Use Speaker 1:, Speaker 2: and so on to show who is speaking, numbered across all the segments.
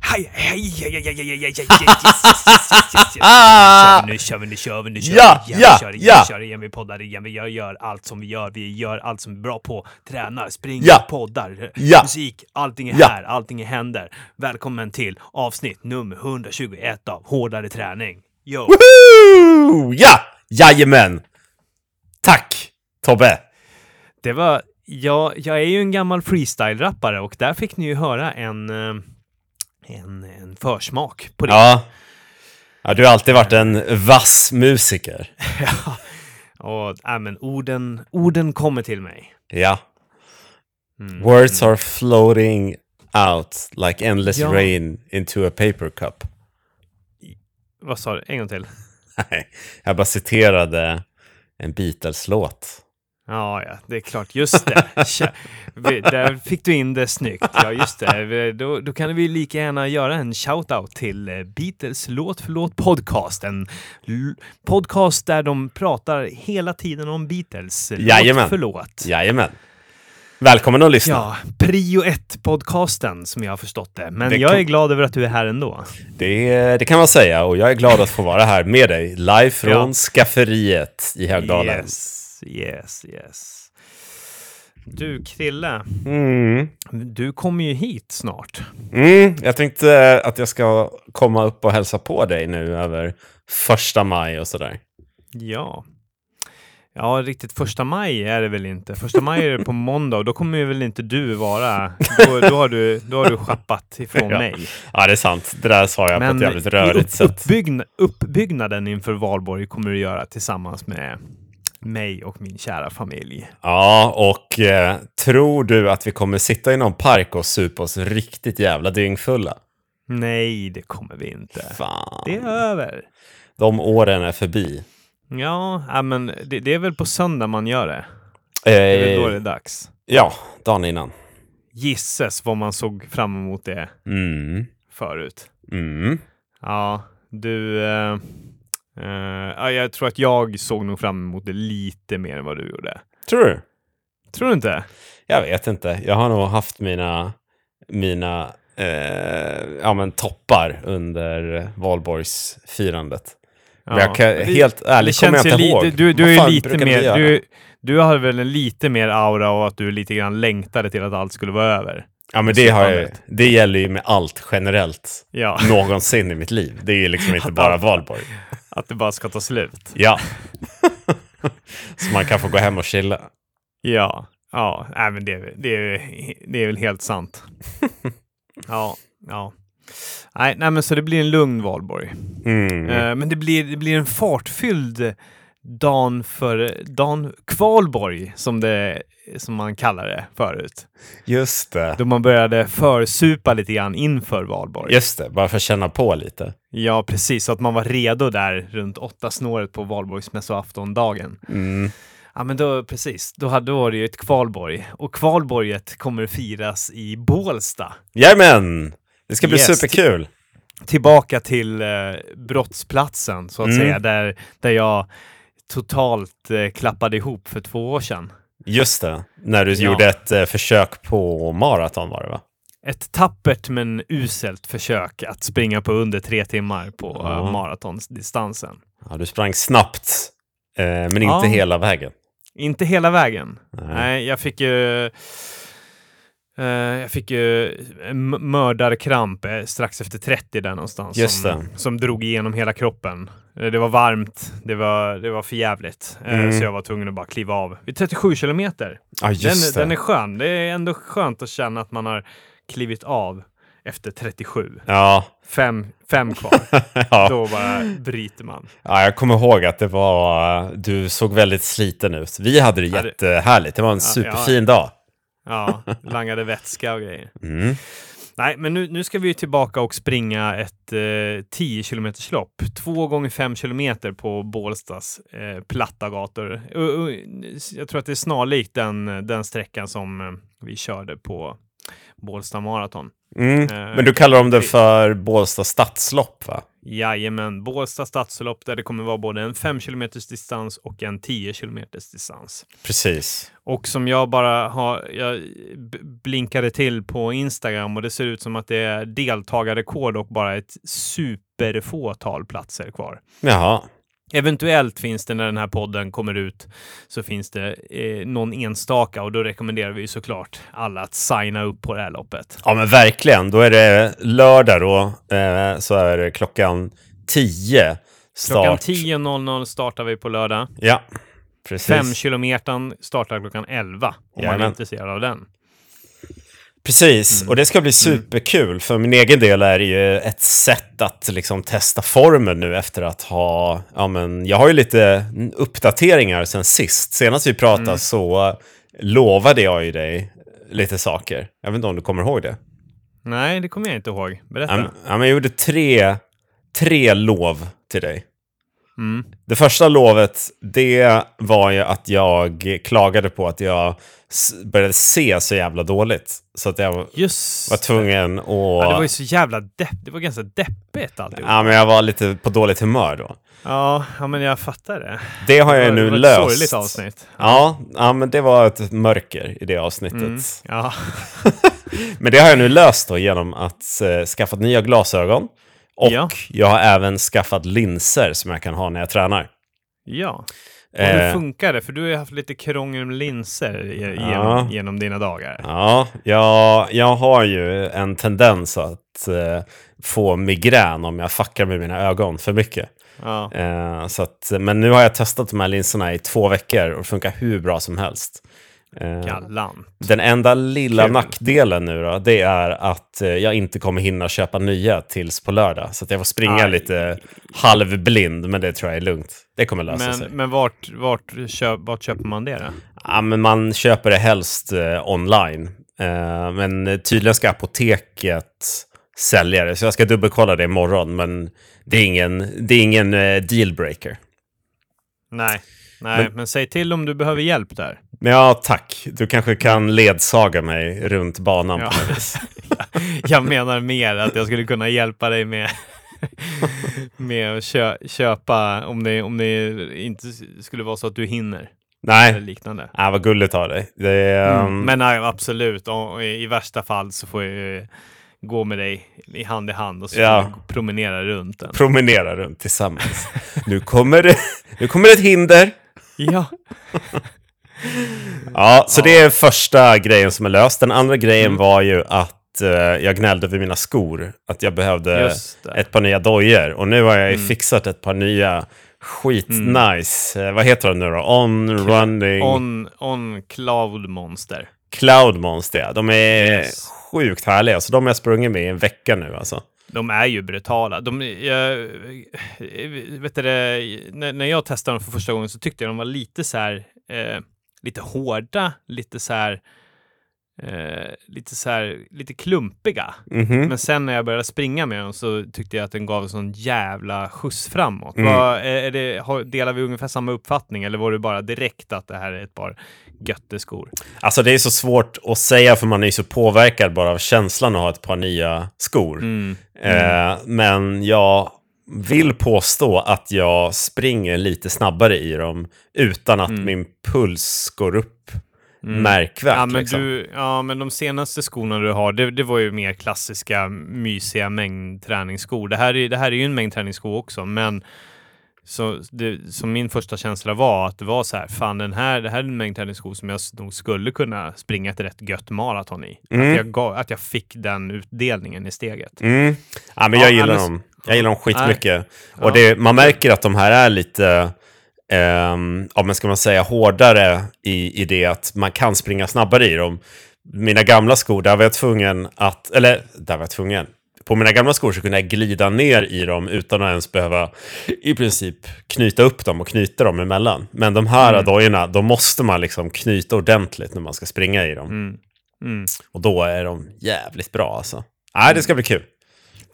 Speaker 1: hej, hej, hej, hej, hej, hej, hej, hej, hej,
Speaker 2: Ah!
Speaker 1: hej, Nu kör vi, nu kör vi, nu kör vi,
Speaker 2: Ja,
Speaker 1: nu kör vi,
Speaker 2: ja,
Speaker 1: kör igen,
Speaker 2: ja.
Speaker 1: kör igen, vi poddar igen, vi gör, gör allt som vi gör, vi gör allt som vi är bra på, tränar, springer,
Speaker 2: Ja.
Speaker 1: poddar,
Speaker 2: Ja.
Speaker 1: musik, allting är
Speaker 2: Ja.
Speaker 1: här, allting är händer. Välkommen till avsnitt nummer 121 av Hårdare träning. Yo!
Speaker 2: Woohoo! Ja! Jajamän! Tack Tobbe!
Speaker 1: Det var, ja, jag är ju en gammal freestyle-rappare och där fick ni ju höra en, eh, en, en försmak på det.
Speaker 2: Ja. ja, du har alltid varit en vass musiker.
Speaker 1: Och äh, men orden, orden kommer till mig.
Speaker 2: Ja.
Speaker 1: Mm.
Speaker 2: Words are floating out like endless
Speaker 1: Ja.
Speaker 2: rain into a paper cup.
Speaker 1: Vad sa du? En gång till.
Speaker 2: Nej, jag bara citerade en Beatles-låt.
Speaker 1: Ja, ja, det är klart. Just det. Tja, vi- Där fick du in det snyggt. Ja, just det. Vi- Då, då kan vi lika gärna göra en shout-out till eh, Beatles Låt för låt podcast. En l- podcast där de pratar hela tiden om Beatles. eh,
Speaker 2: Jajamän.
Speaker 1: Låt för låt.
Speaker 2: Jajamän. Välkommen att lyssna.
Speaker 1: Ja, prio 1-podcasten som jag har förstått det. Men
Speaker 2: Det
Speaker 1: jag
Speaker 2: kan-
Speaker 1: är glad över att du är här ändå.
Speaker 2: Det, det kan man säga och jag är glad att få vara här med dig live från
Speaker 1: Ja.
Speaker 2: skafferiet i Högdalen.
Speaker 1: Yes, yes, yes. Du Krille,
Speaker 2: Mm.
Speaker 1: du kommer ju hit snart.
Speaker 2: Mm, jag tänkte att jag ska komma upp och hälsa på dig nu över första maj och sådär.
Speaker 1: Ja. Ja, riktigt första maj är det väl inte. Första maj är det på måndag och då kommer ju väl inte du vara... Då, då, har, du, då har du schappat ifrån
Speaker 2: Ja.
Speaker 1: mig.
Speaker 2: Ja, det är sant. Det där sa jag på
Speaker 1: Men
Speaker 2: ett jävligt
Speaker 1: i
Speaker 2: rörigt
Speaker 1: upp,
Speaker 2: sätt.
Speaker 1: uppbygg, uppbyggnaden inför valborg kommer du göra tillsammans med mig och min kära familj.
Speaker 2: Ja, och eh, tror du att vi kommer sitta i någon park och supa oss riktigt jävla dyngfulla?
Speaker 1: Nej, det kommer vi inte.
Speaker 2: Fan,
Speaker 1: Det är över.
Speaker 2: de åren är förbi.
Speaker 1: Ja, ja, men det, det är väl på söndag man gör det. Det är väl då det är
Speaker 2: Eh,
Speaker 1: dags.
Speaker 2: ja, dagen innan.
Speaker 1: Gisses vad man såg fram emot det
Speaker 2: Mm,
Speaker 1: förut.
Speaker 2: mm.
Speaker 1: Ja, du... Eh, eh, ja, jag tror att jag såg nog fram emot det lite mer än vad du gjorde.
Speaker 2: Tror du?
Speaker 1: Tror du inte?
Speaker 2: Jag vet inte. Jag har nog haft mina, mina eh, ja, men toppar under valborgsfirandet.
Speaker 1: Ja,
Speaker 2: Men jag kan,
Speaker 1: det-
Speaker 2: helt ärligt kommer jag
Speaker 1: ju
Speaker 2: inte
Speaker 1: li-
Speaker 2: ihåg.
Speaker 1: Du,
Speaker 2: Vad
Speaker 1: du, är
Speaker 2: fan
Speaker 1: lite
Speaker 2: brukade vi
Speaker 1: mer,
Speaker 2: göra?
Speaker 1: du, du har väl en lite mer aura och att du lite grann längtade till att allt skulle vara över.
Speaker 2: ja, men det, har jag, ju-
Speaker 1: Släppandet.
Speaker 2: det gäller ju med allt generellt
Speaker 1: Ja,
Speaker 2: någonsin i mitt liv. Det är ju liksom inte bara valborg.
Speaker 1: att det bara ska ta slut.
Speaker 2: Ja. Så man kan få gå hem och chilla.
Speaker 1: Ja, ja, nej, men det, det, det är väl helt sant. Ja, ja. Nej, nej, men så det blir en lugn valborg.
Speaker 2: Mm.
Speaker 1: Eh, men det blir, det blir en fartfylld dan för dan kvalborg som det som man kallar det förut.
Speaker 2: Just det.
Speaker 1: Då man började försupa lite grann inför valborg.
Speaker 2: Just det, bara för att känna på lite.
Speaker 1: Ja, precis. Så att man var redo där runt åtta snåret på valborgsmässoaftondagen.
Speaker 2: Mm.
Speaker 1: Ja, men då precis. Då hade då var det ju ett kvalborg och kvalborget kommer firas i Bålsta.
Speaker 2: Jajamän! Det ska bli
Speaker 1: Yes.
Speaker 2: superkul.
Speaker 1: Tillbaka till eh, brottsplatsen så att
Speaker 2: Mm.
Speaker 1: säga, där, där jag totalt eh, klappade ihop för två år sedan.
Speaker 2: Just det, när du
Speaker 1: Ja.
Speaker 2: gjorde ett eh, försök på maraton var det va?
Speaker 1: Ett tappert men uselt försök att springa på under tre timmar på
Speaker 2: Ja.
Speaker 1: eh, maratonsdistansen.
Speaker 2: Ja, du sprang snabbt, eh, men
Speaker 1: Ja.
Speaker 2: inte hela vägen.
Speaker 1: Inte hela vägen.
Speaker 2: Nej.
Speaker 1: Nej, jag fick ju... eh, jag fick ju m- mördarkramp eh, strax efter 30 där någonstans.
Speaker 2: Just
Speaker 1: som, som drog igenom hela kroppen. Eh, Det var varmt, det var, det var för jävligt. Eh,
Speaker 2: Mm.
Speaker 1: Så jag var tvungen att bara kliva av. Vid 37 kilometer.
Speaker 2: Ja,
Speaker 1: Den,
Speaker 2: just
Speaker 1: den
Speaker 2: det.
Speaker 1: är skön. Det är ändå skönt att känna att man har klivit av efter 37.
Speaker 2: Ja.
Speaker 1: Fem, fem kvar.
Speaker 2: ja.
Speaker 1: Då bara bryter man.
Speaker 2: ja, jag kommer ihåg att det var, du såg väldigt sliten ut. Vi hade det
Speaker 1: Ja, det-
Speaker 2: jättehärligt, det var en superfin dag.
Speaker 1: Ja, langade vätska och grejer.
Speaker 2: Mm.
Speaker 1: Nej, men nu, nu ska vi ju tillbaka och springa ett eh, 10 km lopp. 2 gånger 5 kilometer på Bålstas eh, platta gator. U- u- jag tror att det är snarlikt den, den sträckan som eh, vi körde på Bålsta maraton.
Speaker 2: Mm.
Speaker 1: Eh,
Speaker 2: Men du kallar dem det
Speaker 1: vi-
Speaker 2: för Bålsta stadslopp va?
Speaker 1: Jajamän, Bålsta stadslopp där det kommer vara både en 5 km distans och en 10 km distans.
Speaker 2: Precis.
Speaker 1: Och som jag bara har, jag b- blinkade till på Instagram och det ser ut som att det är deltagarrekord och bara ett superfåtal platser kvar.
Speaker 2: Jaha.
Speaker 1: Eventuellt finns det när den här podden kommer ut så finns det eh, någon enstaka och då rekommenderar vi ju såklart alla att signa upp på det här loppet.
Speaker 2: Ja, men verkligen. Då är det lördag då, eh, så är det klockan 10 start.
Speaker 1: Klockan 10.00 startar vi på lördag.
Speaker 2: Ja, precis.
Speaker 1: Femkilometern startar klockan 11 om man är
Speaker 2: Jajamän.
Speaker 1: intresserad av den.
Speaker 2: Precis, och det ska bli superkul. För min egen del är det ju ett sätt att liksom testa formen nu efter att ha... Ja, men jag har ju lite uppdateringar sen sist. Senast vi pratade så lovade jag ju dig lite saker. Jag vet inte om du kommer ihåg det?
Speaker 1: Nej, det kommer jag inte ihåg.
Speaker 2: Ja,
Speaker 1: Berätta.
Speaker 2: men- ja, men jag gjorde tre, tre lov till dig.
Speaker 1: Mm.
Speaker 2: Det första lovet, det var ju att jag klagade på att jag s- började se så jävla dåligt. Så att jag
Speaker 1: Just
Speaker 2: var tvungen att...
Speaker 1: ja, det var ju så jävla depp. Det var ganska deppigt alltihop.
Speaker 2: Ja, men jag var lite på dåligt humör då.
Speaker 1: Ja, ja men jag fattar det.
Speaker 2: Det har jag
Speaker 1: Det
Speaker 2: ju
Speaker 1: var- det
Speaker 2: nu
Speaker 1: var ett
Speaker 2: löst.
Speaker 1: sorgligt avsnitt.
Speaker 2: Ja, ja, men det var ett mörker i det avsnittet.
Speaker 1: Mm. Ja,
Speaker 2: Men det har jag nu löst då genom att eh, skaffa nya glasögon. Och
Speaker 1: Ja.
Speaker 2: jag har även skaffat linser som jag kan ha när jag tränar.
Speaker 1: ja. Och hur
Speaker 2: Eh,
Speaker 1: funkar det? För du har ju haft lite krångel med linser i- genom,
Speaker 2: Ja.
Speaker 1: genom dina dagar.
Speaker 2: Ja, jag, jag har ju en tendens att eh, få migrän om jag fuckar med mina ögon för mycket.
Speaker 1: Ja.
Speaker 2: Eh, så att, men nu har jag testat de här linserna i två veckor och det funkar hur bra som helst. Eh,
Speaker 1: Galant.
Speaker 2: den enda lilla
Speaker 1: Kul.
Speaker 2: nackdelen nu då, det är att eh, jag inte kommer hinna köpa nya tills på lördag. Så att jag får springa
Speaker 1: Aj.
Speaker 2: lite halvblind, men det tror jag är lugnt. Det kommer lösa sig.
Speaker 1: Men, men vart, vart, köp, vart köper man det då?
Speaker 2: Ja, men man köper det helst eh, online. Eh, men tydligen ska apoteket sälja det, så jag ska dubbelkolla det imorgon. Men det är ingen, det är ingen eh, dealbreaker.
Speaker 1: Nej, nej men,
Speaker 2: Men-
Speaker 1: säg till om du behöver hjälp där.
Speaker 2: Men ja, tack. Du kanske kan ledsaga mig runt banan.
Speaker 1: Ja. jag menar mer att jag skulle kunna hjälpa dig med, med att kö, köpa om det, om det inte skulle vara så att du hinner. Eller
Speaker 2: Nej,
Speaker 1: liknande.
Speaker 2: ah, vad gulligt av dig. Det, är, ehm,
Speaker 1: Men nej, absolut, och, och i värsta fall så får jag eh, gå med dig i hand i hand och så
Speaker 2: Ja.
Speaker 1: får vi promenera runt den.
Speaker 2: Promenera runt tillsammans. nu, kommer det, nu kommer det ett hinder.
Speaker 1: Ja,
Speaker 2: Ja, så det är första grejen som är löst. Den andra grejen
Speaker 1: Mm.
Speaker 2: var ju att eh, jag gnällde över mina skor. Att jag behövde
Speaker 1: Just det. Mm.
Speaker 2: ett par nya dojor. Och nu har jag ju fixat ett par nya skitnice. Eh, vad heter de nu då? On Running
Speaker 1: on, on cloud monster.
Speaker 2: Cloud Monster. ja. De är
Speaker 1: Yes.
Speaker 2: sjukt härliga. Så de har jag sprungit med i en vecka nu alltså.
Speaker 1: De är ju brutala. De, jag, vet du, det, när, när jag testade dem för första gången så tyckte jag de var lite så här, eh, lite hårda, lite så här, eh, lite så här, lite klumpiga.
Speaker 2: Mhm.
Speaker 1: Men sen när jag började springa med dem så tyckte jag att den gav en sån jävla skjuts framåt.
Speaker 2: Mm.
Speaker 1: Vad, är- är det, har, delar vi ungefär samma uppfattning eller var det bara direkt att det här är ett par götteskor?
Speaker 2: Alltså det är så svårt att säga för man är ju så påverkad bara av känslan att ha ett par nya skor.
Speaker 1: Mm.
Speaker 2: Eh, men jag vill påstå att jag springer lite snabbare i dem utan att min puls går upp märkvärt.
Speaker 1: Mm. Ja men,
Speaker 2: liksom.
Speaker 1: du, ja, men de senaste skorna du har, det, det var ju mer klassiska mysiga mängdträningsskor. Det här är, det här är ju en mängdträningssko också, men så, det, som min första känsla var att det var så här, fan den här, det här är en mängdträningssko som jag s- nog skulle kunna springa ett rätt gött maraton i. Att, jag gav, att jag fick den utdelningen i steget.
Speaker 2: Mm. Ja, men
Speaker 1: Ja,
Speaker 2: jag
Speaker 1: ja,
Speaker 2: gillar
Speaker 1: men-
Speaker 2: dem. Jag gillar dem skitmycket. Och det, man märker att de här är lite, ehm, ja men ska man säga hårdare i, i det att man kan springa snabbare i dem. Mina gamla skor, där var jag tvungen att, eller där var jag tvungen. På mina gamla skor så kunde jag glida ner i dem utan att ens behöva i princip knyta upp dem och knyta dem emellan. Men de här
Speaker 1: Mm.
Speaker 2: dojorna, då måste man liksom knyta ordentligt när man ska springa i dem.
Speaker 1: Mm.
Speaker 2: Och då är de jävligt bra alltså. Nej, det ska bli kul.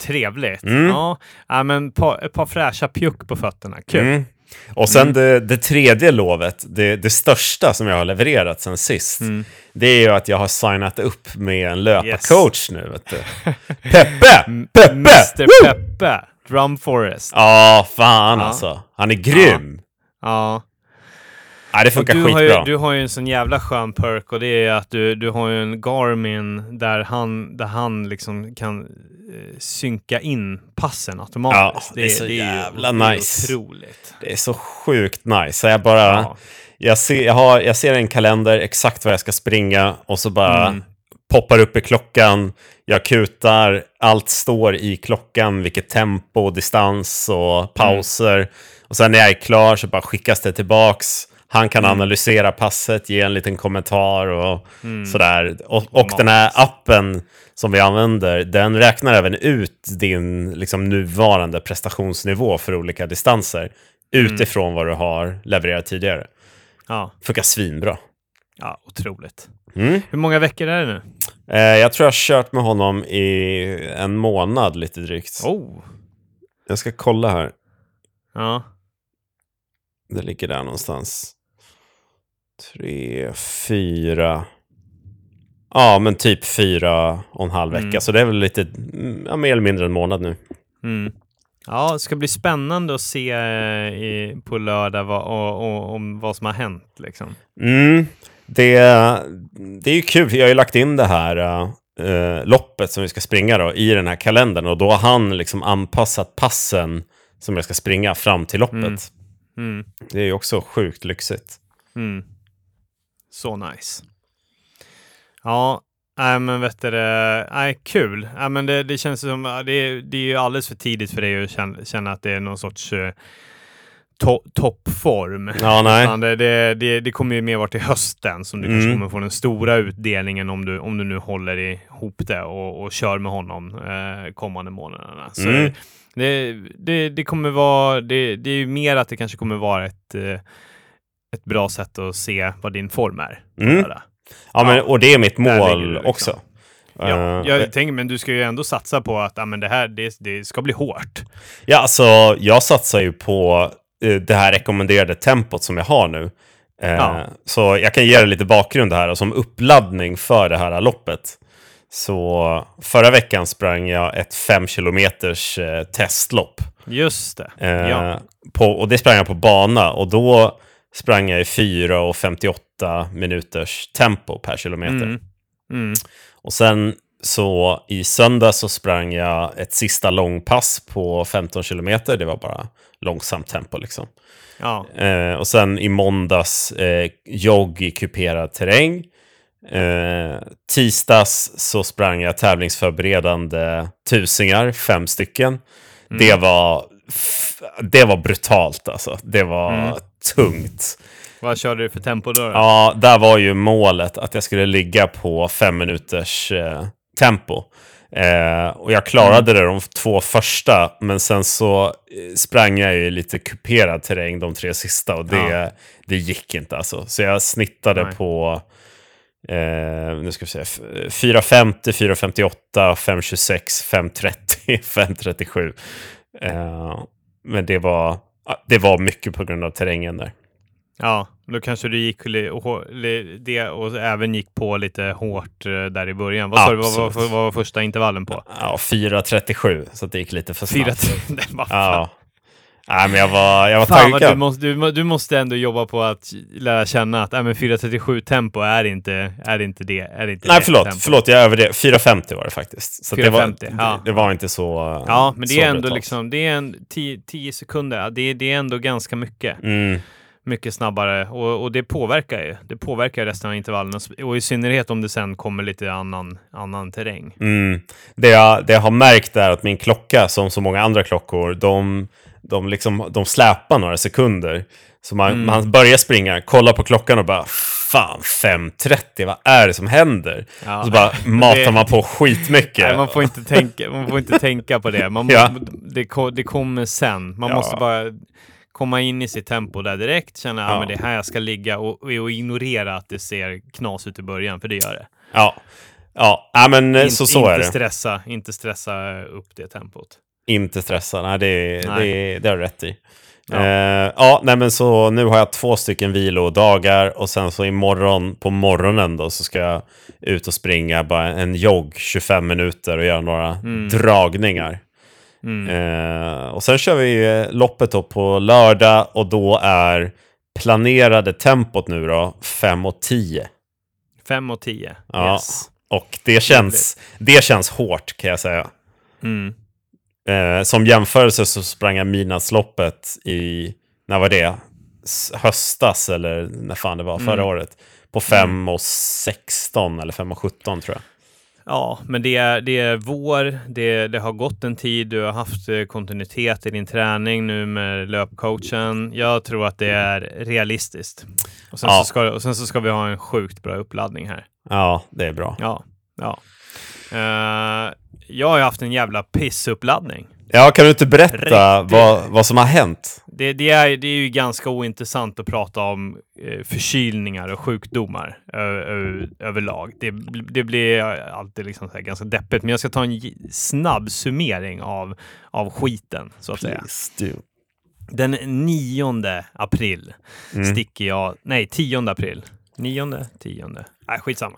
Speaker 1: Trevligt.
Speaker 2: Mm.
Speaker 1: Ja, ja, men pa, ett par fräscha pjuck på fötterna. Kul.
Speaker 2: Mm. Och sen det, det tredje lovet, det, det största som jag har levererat sen sist,
Speaker 1: Mm.
Speaker 2: det är ju att jag har signat upp med en löparcoach nu. Vet du. Peppe! Peppe!
Speaker 1: Mr
Speaker 2: Woo!
Speaker 1: Peppe! Drum Forest.
Speaker 2: Ja, fan alltså. Han är grym.
Speaker 1: Ja.
Speaker 2: Ja, det funkar
Speaker 1: du har, ju,
Speaker 2: skitbra.
Speaker 1: du har ju en sån jävla skön perk och det är att du, du har ju en Garmin där han, där han liksom kan eh, synka in passen automatiskt.
Speaker 2: Ja, det är så
Speaker 1: ju
Speaker 2: jävla
Speaker 1: o- det är
Speaker 2: nice.
Speaker 1: otroligt.
Speaker 2: Det är så sjukt nice. Så jag bara...
Speaker 1: Ja.
Speaker 2: Jag, ser, jag, har, jag ser en kalender, exakt var jag ska springa och så bara poppar upp i klockan. Jag kutar, allt står i klockan, vilket tempo, distans och pauser. Och sen när jag är klar så bara skickas det tillbaks. Han kan analysera passet, ge en liten kommentar och sådär. Och, och den här appen som vi använder, den räknar även ut din liksom, nuvarande prestationsnivå för olika distanser utifrån vad du har levererat tidigare
Speaker 1: Ja,
Speaker 2: funkar svinbra.
Speaker 1: ja, otroligt.
Speaker 2: Mm.
Speaker 1: Hur många veckor är det nu?
Speaker 2: Eh, jag tror jag har kört med honom i en månad lite drygt.
Speaker 1: Oh,
Speaker 2: Jag ska kolla här.
Speaker 1: ja.
Speaker 2: Det ligger där någonstans. Tre, fyra. Ja, men typ fyra och en halv vecka.
Speaker 1: Mm.
Speaker 2: Så det är väl lite, mm, ja, mer eller mindre en månad nu.
Speaker 1: Mm. Ja, det ska bli spännande att se eh, i, på lördag vad, och, och, om vad som har hänt. Liksom.
Speaker 2: Mm. Det, det är ju kul, jag har ju lagt in det här eh, loppet som vi ska springa då, i den här kalendern. Och då har han liksom anpassat passen som jag ska springa fram till loppet.
Speaker 1: Mm. Mm.
Speaker 2: Det är ju också sjukt lyxigt.
Speaker 1: Mm. Så nice. Ja, nej men vet du det, nej kul. Nej men det, det känns som, ja, det, är- det är ju alldeles för tidigt för dig att känna, känna att det är någon sorts eh, to, toppform.
Speaker 2: Ja, nej.
Speaker 1: Utan Det, det, det, det kommer ju mer vara till hösten som du kanske
Speaker 2: Mm.
Speaker 1: kommer få den stora utdelningen om du, om du nu håller ihop det och, och kör med honom eh, kommande månaderna. Så
Speaker 2: Mm.
Speaker 1: det, det, det kommer vara, det, det är ju mer att det kanske kommer vara ett, eh, ett bra sätt att se vad din form är. på
Speaker 2: Mm.
Speaker 1: lördag.
Speaker 2: Ja, men, och det är mitt
Speaker 1: Där ligger
Speaker 2: mål
Speaker 1: det liksom.
Speaker 2: också.
Speaker 1: Ja,
Speaker 2: Eh,
Speaker 1: jag tänker, men du ska ju ändå satsa på att ah, men det här det, det ska bli hårt.
Speaker 2: ja, alltså jag satsar ju på eh, det här rekommenderade tempot som jag har nu. Eh,
Speaker 1: Ja.
Speaker 2: Så jag kan ge dig lite bakgrund här och som uppladdning för det här loppet. Så förra veckan sprang jag ett 5 kilometers eh, testlopp.
Speaker 1: Just det.
Speaker 2: Eh,
Speaker 1: Ja.
Speaker 2: på, och det sprang jag på bana och då sprang jag i 4.58 minuters tempo per kilometer.
Speaker 1: Mm. Mm.
Speaker 2: Och sen så i söndag så sprang jag ett sista långpass på 15 kilometer. Det var bara långsamt tempo liksom.
Speaker 1: Ja.
Speaker 2: Eh, och sen i måndags eh, jogg i kuperad terräng. Eh, tisdags så sprang jag tävlingsförberedande tusingar, fem stycken. Det, var, f- det var brutalt alltså. Det var tungt.
Speaker 1: Vad körde du för tempo då? då?
Speaker 2: Ja, där var ju målet att jag skulle ligga på fem minuters eh, tempo. Eh, och jag klarade det de två första, men sen så eh, sprang jag ju i lite kuperad terräng de tre sista och det, det gick inte alltså. Så jag snittade
Speaker 1: Nej.
Speaker 2: på eh, nu ska vi se, f- 4.50, 4.58, 5.26, 5.30, 5.37. Eh, men det var, det var mycket på grund av terrängen där.
Speaker 1: Ja, då kanske du gick li- och, hå- li- det och även gick på lite hårt eh, där i början. Vad sa du, vad, vad,
Speaker 2: Absolut.
Speaker 1: vad var första intervallen på?
Speaker 2: Ja, 4.37, så att det gick lite för snabbt.
Speaker 1: 4 Nej, vad fan.
Speaker 2: Ja. Nej, men jag var, jag var
Speaker 1: Fan vad du
Speaker 2: taggad.
Speaker 1: måste, du, må- du måste ändå jobba på att lära känna att äh, men 4.37 tempo är inte, är inte det. Är inte
Speaker 2: Nej,
Speaker 1: det tempo.
Speaker 2: förlåt, förlåt, jag överdrev. 4.50 var det faktiskt. Så att det,
Speaker 1: 4.50,
Speaker 2: var,
Speaker 1: ja.
Speaker 2: det, det var inte så eh,
Speaker 1: Ja, men det
Speaker 2: så
Speaker 1: är ändå
Speaker 2: brutalt.
Speaker 1: liksom, det är en 10 10 sekunder. Ja, Det, det är ändå ganska mycket.
Speaker 2: Mm,
Speaker 1: mycket snabbare och, och det påverkar ju. Det påverkar ju resten av intervallen och, och i synnerhet om det sen kommer lite annan, annan terräng.
Speaker 2: mm. Det, jag, det jag har märkt är att min klocka, som så många andra klockor, de, de, liksom, de släpar några sekunder. Så man,
Speaker 1: Mm.
Speaker 2: man börjar springa, kollar på klockan och bara Fan, 5.30, vad är det som händer?
Speaker 1: Ja.
Speaker 2: Och så bara matar
Speaker 1: Det-
Speaker 2: man på skitmycket.
Speaker 1: Nej, man får inte tänka, man får inte tänka på det. Man må,
Speaker 2: Ja.
Speaker 1: det, ko- det kommer sen. Man
Speaker 2: Ja.
Speaker 1: måste bara komma in i sitt tempo där direkt, känna att
Speaker 2: Ja.
Speaker 1: men det är här jag ska ligga och, och ignorera att det ser knas ut i början, för det gör det.
Speaker 2: Ja, ja. ja men eh,
Speaker 1: In,
Speaker 2: så, så
Speaker 1: inte
Speaker 2: är det.
Speaker 1: Stressa, inte stressa upp det tempot.
Speaker 2: Inte stressa, nej det,
Speaker 1: Nej.
Speaker 2: Det, det har du rätt i.
Speaker 1: Ja.
Speaker 2: Ja. ja, nej men så nu har jag två stycken vilodagar och sen så imorgon på morgonen då så ska jag
Speaker 1: Mm.
Speaker 2: ut och springa bara en jogg 25 minuter och göra några dragningar. Eh, och sen kör vi eh, loppet då på lördag och då är planerade tempot nu då 5 och 10.
Speaker 1: 5 och 10.
Speaker 2: Ja.
Speaker 1: Yes.
Speaker 2: Och det känns, det känns hårt kan jag säga.
Speaker 1: Mm.
Speaker 2: Eh, som jämförelse så sprang jag Midnattsloppet i, när var det? S- Höstas eller när fan det var,
Speaker 1: Mm.
Speaker 2: förra året. På 5 och 16 eller 5 och 17 tror jag.
Speaker 1: Ja, men det är, det är vår, det, det har gått en tid, du har haft eh, kontinuitet i din träning nu med löpcoachen. Jag tror att det är realistiskt. Och sen,
Speaker 2: Ja.
Speaker 1: så, ska, och sen så ska vi ha en sjukt bra uppladdning här.
Speaker 2: Ja, det är bra.
Speaker 1: Ja, ja. Eh, jag har ju haft en jävla pissuppladdning.
Speaker 2: Ja, kan du inte berätta
Speaker 1: Riktigt.
Speaker 2: vad, vad som har hänt?
Speaker 1: Det, det, är, det är ju ganska ointressant att prata om eh, förkylningar och sjukdomar ö, ö, överlag. Det, bl- det blir alltid liksom så här ganska deppigt, men jag ska ta en j- snabb summering av, av skiten, så att säga.
Speaker 2: du.
Speaker 1: Den 9 april sticker jag... Nej, 10 april. 9, 10. Nej, skitsamma.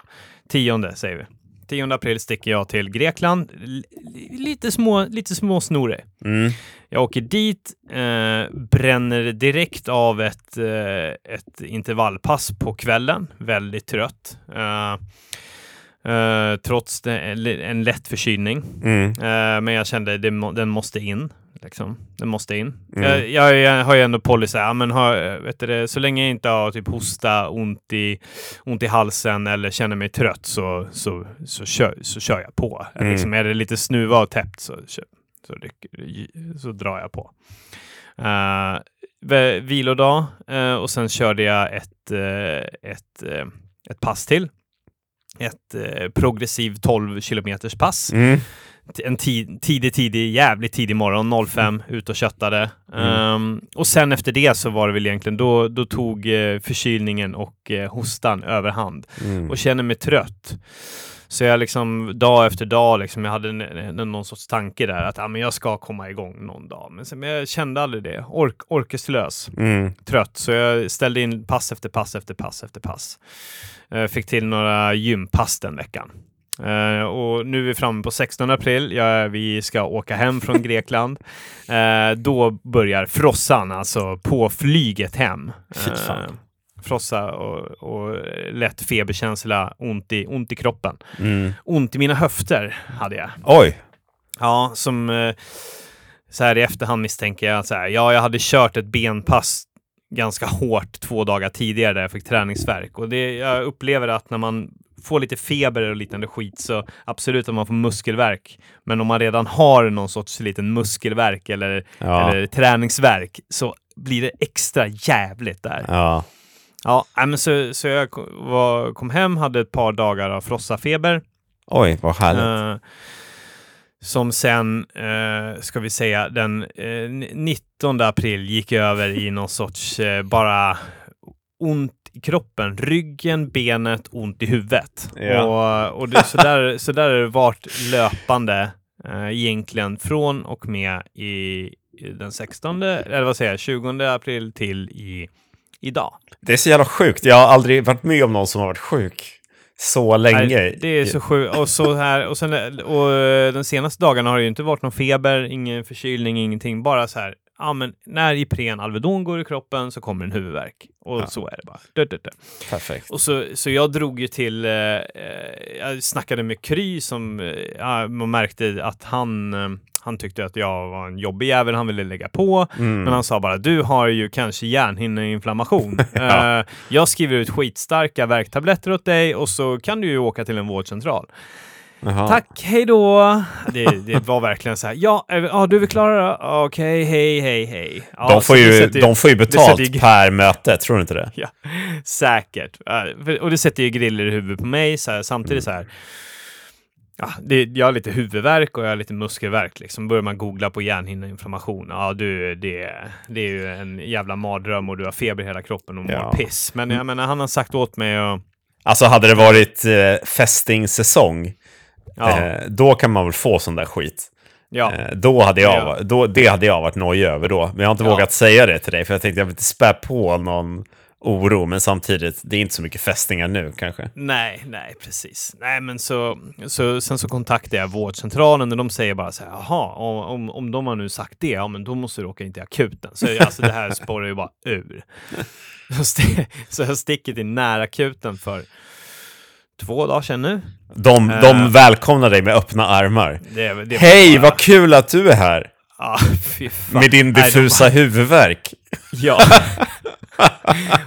Speaker 1: 10 säger vi. 10 april sticker jag till Grekland. L- lite små, lite små snorig.
Speaker 2: Mm.
Speaker 1: Jag åker dit, eh, bränner direkt av ett, eh, ett intervallpass på kvällen, väldigt trött. Eh, eh, trots det, en lätt förkylning.
Speaker 2: Mm.
Speaker 1: Eh, men jag kände det, må- den måste in. Liksom. Den måste in.
Speaker 2: Mm.
Speaker 1: Jag, jag, jag har ju ändå policy, ja, men har, vet du, det, så länge jag inte har typ hosta, ont i, ont i halsen eller känner mig trött så, så, så, kör, så kör jag på.
Speaker 2: Mm.
Speaker 1: Liksom, är det lite snuva och täppt så, så, så, ryck- så drar jag på. Eh, ve- vilodag eh, och sen körde jag ett, eh, ett, eh, ett pass till. Ett eh, progressiv 12 kilometers pass
Speaker 2: Mm.
Speaker 1: en ti- tidig, tidig, jävligt tidig morgon, 05, ut och köttade.
Speaker 2: Mm.
Speaker 1: Ehm, och sen efter det så var det väl egentligen, då, då tog eh, förkylningen och eh, hostan överhand
Speaker 2: Mm.
Speaker 1: och känner mig trött. Så jag liksom dag efter dag, liksom, jag hade en, en, någon sorts tanke där att ah, men jag ska komma igång någon dag. Men, sen, men jag kände aldrig det. Ork, orkeslös
Speaker 2: Mm.
Speaker 1: trött, så jag ställde in pass efter pass efter pass efter pass. Eh, fick till några gympass den veckan. Eh, och nu är vi framme på 16 april. Ja, vi ska åka hem från Grekland. Eh, då börjar frossan, alltså på flyget hem. Eh,
Speaker 2: Fy fan.
Speaker 1: frossa och, och lätt feberkänsla, ont i, ont i kroppen.
Speaker 2: Mm.
Speaker 1: Ont i mina höfter hade jag.
Speaker 2: Oj.
Speaker 1: Ja, som eh, så här i efterhand misstänker jag att så här, ja, jag hade kört ett benpass ganska hårt två dagar tidigare där jag fick träningsvärk. Och det, jag upplever att när man får lite feber och liknande skit så absolut att man får muskelvärk. Men om man redan har någon sorts liten muskelvärk eller,
Speaker 2: Ja.
Speaker 1: eller träningsvärk så blir det extra jävligt där.
Speaker 2: Ja.
Speaker 1: Ja, nej, men så, så jag ko- var, kom hem, hade ett par dagar av frossafeber.
Speaker 2: Oj, vad härligt.
Speaker 1: Eh, som sen, eh, ska vi säga, den eh, ni- 19 april gick över i någon sorts eh, bara ont i kroppen, ryggen, benet, ont i huvudet.
Speaker 2: Ja.
Speaker 1: Och, och det, så, där, så där har det varit löpande eh, egentligen från och med i, i den 16, eller vad säger jag, 20 april till i, idag.
Speaker 2: Det är så jävla sjukt. Jag har aldrig varit med om någon som har varit sjuk så länge.
Speaker 1: Nej, det är så sjukt. Och, så här, och, sen, och eh, de senaste dagarna har det ju inte varit någon feber, ingen förkylning, ingenting. Bara så här, ja men när Ipren Alvedon går i kroppen så kommer en huvudvärk. Och
Speaker 2: Ja.
Speaker 1: så är det bara. Dö, dö, dö.
Speaker 2: Perfekt.
Speaker 1: Och så, så jag drog ju till, eh, eh, jag snackade med Kry som eh, ja, man märkte att han, eh, han tyckte att jag var en jobbig jävel, han ville lägga på.
Speaker 2: Mm.
Speaker 1: Men han sa bara, du har ju kanske hjärnhinneinflammation. eh, jag skriver ut skitstarka värktabletter åt dig och så kan du ju åka till en vårdcentral.
Speaker 2: Jaha.
Speaker 1: Tack, hej då! Det, det var verkligen så här, ja, är vi- ja du är väl klara då? Okej, hej, hej, hej. Ja,
Speaker 2: de, får
Speaker 1: så det
Speaker 2: ju,
Speaker 1: sätter
Speaker 2: de får ju
Speaker 1: det
Speaker 2: betalt
Speaker 1: sätter ju-
Speaker 2: per möte, tror du inte det?
Speaker 1: Ja, säkert. Eh, för- Och det sätter ju griller i huvudet på mig. Så här, samtidigt så här. Ja, det, jag har lite huvudvärk och jag har lite muskelvärk. Liksom. Börjar man googla på hjärnhinneinflammation. Ja, du, det, det är ju en jävla mardröm och du har feber i hela kroppen och mår
Speaker 2: Ja.
Speaker 1: piss. Men jag menar, han har sagt åt mig att...
Speaker 2: Alltså hade det varit eh, fästingsäsong,
Speaker 1: Ja,
Speaker 2: eh, då kan man väl få sån där skit.
Speaker 1: ja.
Speaker 2: Eh, då hade jag,
Speaker 1: Ja.
Speaker 2: va- då, det hade jag varit nojig över då. Men jag har inte
Speaker 1: Ja.
Speaker 2: vågat säga det till dig, för jag tänkte jag vill inte spä på någon oro, men samtidigt, det är inte så mycket fästingar nu kanske.
Speaker 1: Nej, nej, precis. Nej, men så, så, sen så kontaktade jag vårdcentralen och de säger bara så här, jaha, om, om, om de har nu sagt det, ja men då måste du åka in till akuten. Så jag- alltså det här spårar ju bara ur. Så st- Så jag sticker till närakuten för två dagar sedan nu.
Speaker 2: De, de välkomnar dig med öppna armar.
Speaker 1: Det, är- Eh. det är
Speaker 2: Hej,
Speaker 1: bara-
Speaker 2: vad kul att du är här!
Speaker 1: Ja, fy fan.
Speaker 2: Med din
Speaker 1: Nej, de
Speaker 2: diffusa huvudvärk.
Speaker 1: Ja.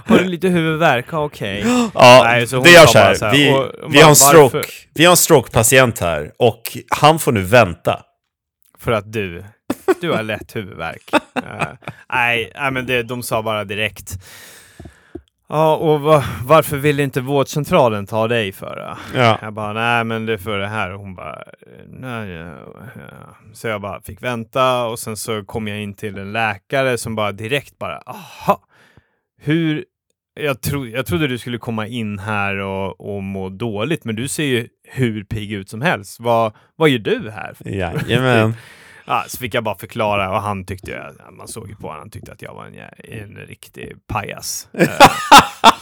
Speaker 1: har du lite huvudvärk? Ja, Okej.
Speaker 2: Ja,
Speaker 1: Nej, så hon
Speaker 2: det gör
Speaker 1: sa
Speaker 2: så här.
Speaker 1: bara så här,
Speaker 2: vi,
Speaker 1: och- och
Speaker 2: vi, har en
Speaker 1: bara,
Speaker 2: stroke,
Speaker 1: varför?
Speaker 2: vi har en stroke-patient här och han får nu vänta.
Speaker 1: För att du, du har lätt huvudvärk. Eh, nej, nej, men det, de sa bara direkt. Ja, och va, varför vill inte vårdcentralen ta dig för då?
Speaker 2: Ja.
Speaker 1: Jag bara, nej men det är för det här. Och hon bara, nej. ja, ja." Så jag bara fick vänta och sen så kom jag in till en läkare som bara direkt bara, aha, hur, jag, tro, jag trodde du skulle komma in här och, och må dåligt, men du ser ju hur pigg ut som helst. Vad, vad gör du här?
Speaker 2: Jajamän.
Speaker 1: Ja, så fick jag bara förklara och han tyckte, jag, man såg ju på honom, han tyckte att jag var en, jä- en riktig pajas. Eh,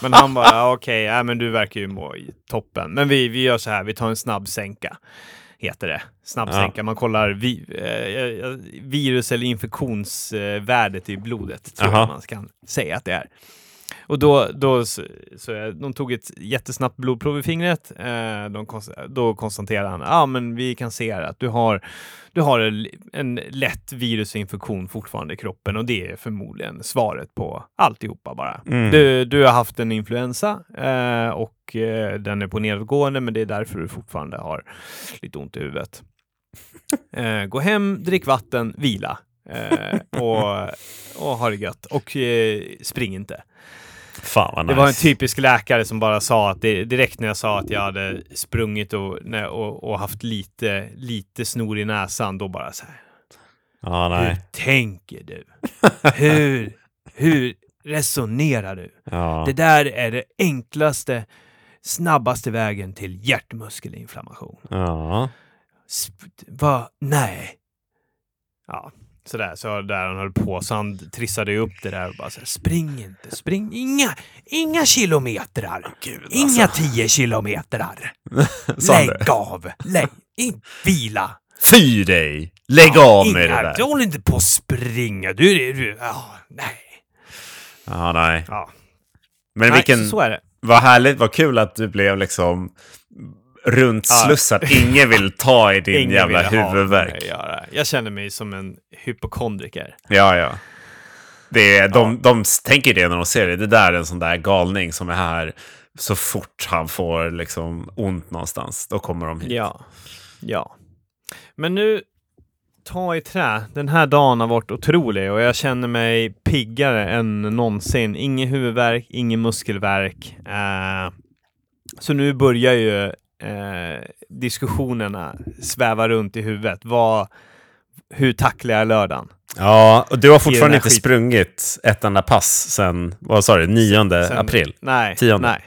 Speaker 1: men han bara, ja, okej, ja, men du verkar ju må i toppen. Men vi, vi gör så här, vi tar en snabb sänka, heter det. Snabb
Speaker 2: Ja.
Speaker 1: sänka, man kollar vi, eh, eh, virus eller infektionsvärdet i blodet, tror
Speaker 2: Aha.
Speaker 1: jag man kan säga att det är. Och då, då så, så jag- de tog ett jättesnabbt blodprov i fingret. Eh, de, konst- då konstaterade han, ja ah, men vi kan se här att du har, du har en, en lätt virusinfektion fortfarande i kroppen och det är förmodligen svaret på alltihopa bara.
Speaker 2: Mm.
Speaker 1: Du, du har haft en influensa eh, och eh, den är på nedåtgående men det är därför du fortfarande har lite ont i huvudet. Eh, gå hem, drick vatten, vila eh, och, och ha det gött och eh, spring inte.
Speaker 2: Fan vad nice.
Speaker 1: Det var en typisk läkare som bara sa att det, direkt när jag sa att jag hade sprungit och, när- och, och haft lite, lite snor i näsan, då bara så här.
Speaker 2: Ja,
Speaker 1: Hur
Speaker 2: nej.
Speaker 1: tänker du? Hur, hur resonerar du?
Speaker 2: Ja.
Speaker 1: Det där är det enklaste, snabbaste vägen till hjärtmuskelinflammation.
Speaker 2: Ja.
Speaker 1: Sp- vad? Nej. Ja, sådär. Så där han höll på. Så han trissade ju upp det där och bara så här, spring inte, spring. Inga, inga kilometrar.
Speaker 2: Gud,
Speaker 1: Inga tio kilometrar.
Speaker 2: Sa han det?
Speaker 1: Lägg av. Lägg, in, vila.
Speaker 2: Fy dig! Lägg av med det
Speaker 1: Inga-
Speaker 2: där.
Speaker 1: Du håller inte på att springa. Du, du, du ja, nej.
Speaker 2: Ja, nej.
Speaker 1: Ja.
Speaker 2: Men
Speaker 1: nej
Speaker 2: vilken...
Speaker 1: så, så är det.
Speaker 2: Vad härligt, vad kul att du blev liksom runtslussad. Ingen vill ta i din
Speaker 1: Ingen
Speaker 2: jävla
Speaker 1: ville ha
Speaker 2: huvudvärk.
Speaker 1: med det att göra. Jag känner mig som en hypokondriker.
Speaker 2: Ja, ja. Det är, de, de tänker det när de ser det. Det där är en sån där galning som är här så fort han får liksom ont någonstans. Då kommer de hit.
Speaker 1: Ja. Ja. Men nu, ta i trä. Den här dagen har varit otrolig och jag känner mig piggare än någonsin. Ingen huvudvärk, ingen muskelvärk. Eh, så nu börjar ju eh, diskussionerna sväva runt i huvudet. Vad, hur tacklar jag lördagen?
Speaker 2: Ja, och du har fortfarande
Speaker 1: här
Speaker 2: inte
Speaker 1: skiten.
Speaker 2: sprungit ett enda pass sen, vad sa du, 9
Speaker 1: Sen-
Speaker 2: april?
Speaker 1: Nej.
Speaker 2: Tionde.
Speaker 1: nej.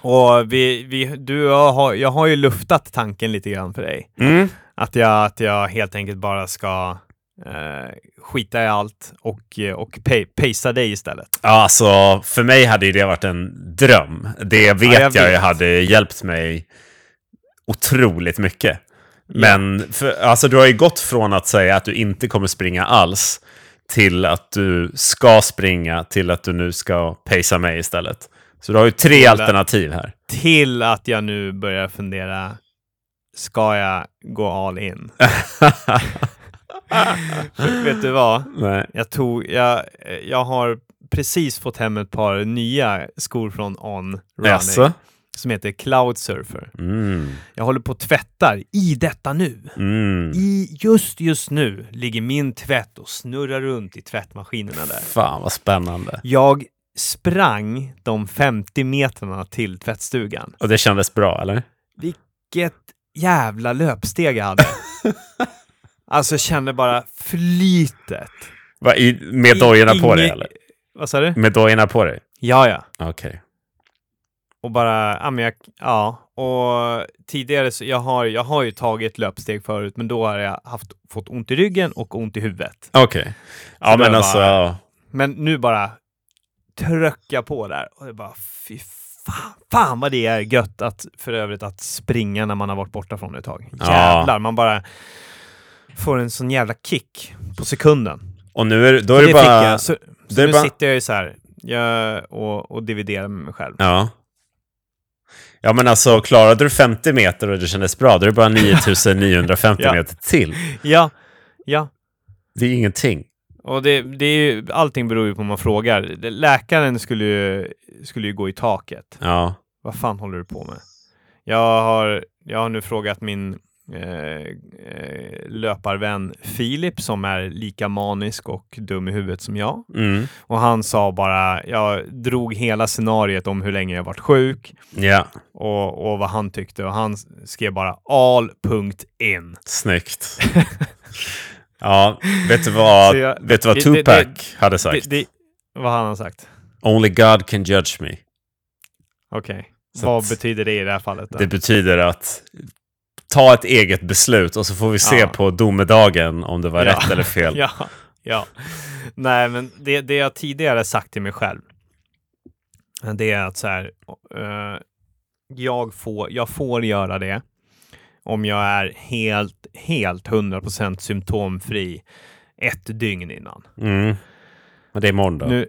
Speaker 1: Och vi, vi, du, jag, har, jag har ju luftat tanken lite grann för dig.
Speaker 2: Mm.
Speaker 1: Att jag, att jag helt enkelt bara ska eh, skita i allt och, eh, och pe- pacea dig istället.
Speaker 2: Ja, Alltså, för mig hade ju det varit en dröm. Det vet
Speaker 1: jag
Speaker 2: jag, ju
Speaker 1: vet.
Speaker 2: hade hjälpt mig otroligt mycket. Men för, alltså, du har ju gått från att säga att du inte kommer springa alls till att du ska springa till att du nu ska pacea mig istället. Så du har ju tre alternativ här.
Speaker 1: Till att jag nu börjar fundera, ska jag gå all in? För Vet du vad?
Speaker 2: Nej.
Speaker 1: Jag, tog, jag, eh, jag har precis fått hem ett par nya skor från On Running
Speaker 2: Jaså?
Speaker 1: som heter Cloud Surfer.
Speaker 2: Mm.
Speaker 1: Jag håller på och tvättar i detta nu.
Speaker 2: Mm.
Speaker 1: I just just nu ligger min tvätt och snurrar runt i tvättmaskinerna där.
Speaker 2: Fan vad spännande.
Speaker 1: Jag sprang de 50 metrarna till tvättstugan.
Speaker 2: Och det kändes bra, eller?
Speaker 1: Vilket jävla löpsteg jag hade. alltså jag kände bara flytet.
Speaker 2: Va, i, med dojorna på dig,
Speaker 1: Inge-
Speaker 2: eller?
Speaker 1: Vad sa du?
Speaker 2: Med dojorna på dig?
Speaker 1: Ja, ja.
Speaker 2: Okej.
Speaker 1: Och bara, ja, men jag, ja. Och tidigare så, jag har, jag har ju tagit löpsteg förut, men då har jag haft, fått ont i ryggen och ont i huvudet.
Speaker 2: Okej. Ja,
Speaker 1: det
Speaker 2: men
Speaker 1: var
Speaker 2: alltså...
Speaker 1: bara-
Speaker 2: ja.
Speaker 1: Men nu bara tröcka på där. Och det bara, fy fan, fan vad det är gött att, för övrigt, att springa när man har varit borta från det ett tag.
Speaker 2: Ja.
Speaker 1: Jävlar, man bara får en sån jävla kick på sekunden.
Speaker 2: Och nu är, då är
Speaker 1: det
Speaker 2: det,
Speaker 1: fick
Speaker 2: bara...
Speaker 1: jag. Så,
Speaker 2: det
Speaker 1: så
Speaker 2: är
Speaker 1: nu
Speaker 2: bara-
Speaker 1: sitter jag ju så här jag, och, och dividerar med mig själv.
Speaker 2: Ja. Ja, men alltså klarade du 50 meter och det kändes bra, då är det bara 9950
Speaker 1: Ja.
Speaker 2: meter till.
Speaker 1: Ja, ja.
Speaker 2: Det är ingenting.
Speaker 1: Och det, det är ju, allting beror ju på om man frågar. Läkaren skulle ju, skulle ju gå i taket.
Speaker 2: Ja.
Speaker 1: Vad fan håller du på med? Jag har, jag har nu frågat min eh, eh, löparvän Filip som är lika manisk och dum i huvudet som jag.
Speaker 2: Mm.
Speaker 1: Och han sa bara, jag drog hela scenariet om hur länge jag varit sjuk
Speaker 2: Ja,
Speaker 1: och, och vad han tyckte och han skrev bara all punkt in.
Speaker 2: snyggt. ja, vet du vad,
Speaker 1: Så jag-
Speaker 2: vet du vad
Speaker 1: det-
Speaker 2: Tupac
Speaker 1: det-
Speaker 2: hade sagt?
Speaker 1: Det, det, vad han har sagt.
Speaker 2: Only God can judge me.
Speaker 1: Okej.
Speaker 2: Så
Speaker 1: Vad
Speaker 2: att-
Speaker 1: betyder det i det här fallet? Då?
Speaker 2: Det betyder att ta ett eget beslut och så får vi se
Speaker 1: Ja.
Speaker 2: på domedagen om det var
Speaker 1: Ja.
Speaker 2: rätt eller fel.
Speaker 1: Ja, ja. Nej, men det, det jag tidigare sagt till mig själv, det är att så här, eh, jag, får, jag får göra det om jag är helt, helt 100% symptomfri ett dygn innan.
Speaker 2: Mm. Men det är måndag.
Speaker 1: Nu,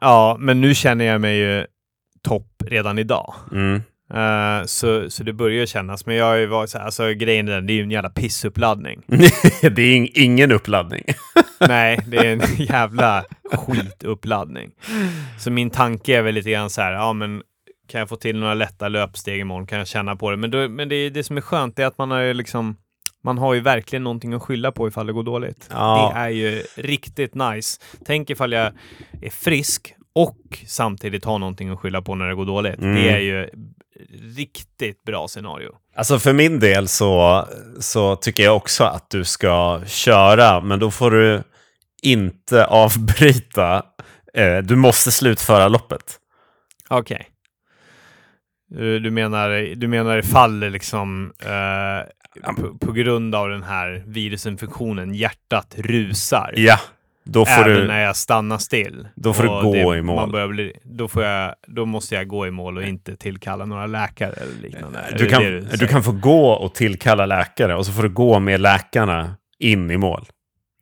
Speaker 1: ja, men nu känner jag mig ju topp redan idag.
Speaker 2: Mm.
Speaker 1: Eh, så, så det börjar kännas, men jag har ju varit så här, alltså grejen är den, det är ju en jävla pissuppladdning.
Speaker 2: det är in, ingen uppladdning.
Speaker 1: Nej, det är en jävla skituppladdning. Så min tanke är väl lite grann så här, ja men kan jag få till några lätta löpsteg imorgon kan jag känna på det. Men, då, men det, är- det som är skönt är att man har ju liksom, man har ju verkligen någonting att skylla på ifall det går dåligt.
Speaker 2: Ja.
Speaker 1: Det är ju riktigt nice. Tänk ifall jag är frisk och samtidigt har någonting att skylla på när det går dåligt. Det är ju riktigt bra scenario.
Speaker 2: Alltså för min del så, så tycker jag också att du ska köra, men då får du inte avbryta. Eh, du måste slutföra loppet.
Speaker 1: Okej. Du, du menar, du menar ifall det liksom eh, på, på grund av den här virusinfektionen hjärtat rusar.
Speaker 2: Ja, då får
Speaker 1: även
Speaker 2: du...
Speaker 1: när jag stannar still.
Speaker 2: Då får du
Speaker 1: och
Speaker 2: gå i mål.
Speaker 1: Man börjar bli, då, får jag, då måste jag gå i mål och inte tillkalla några läkare eller liknande. Är
Speaker 2: Du
Speaker 1: det
Speaker 2: kan,
Speaker 1: det
Speaker 2: du
Speaker 1: säger?
Speaker 2: kan få gå och tillkalla läkare och så får du gå med läkarna in i mål.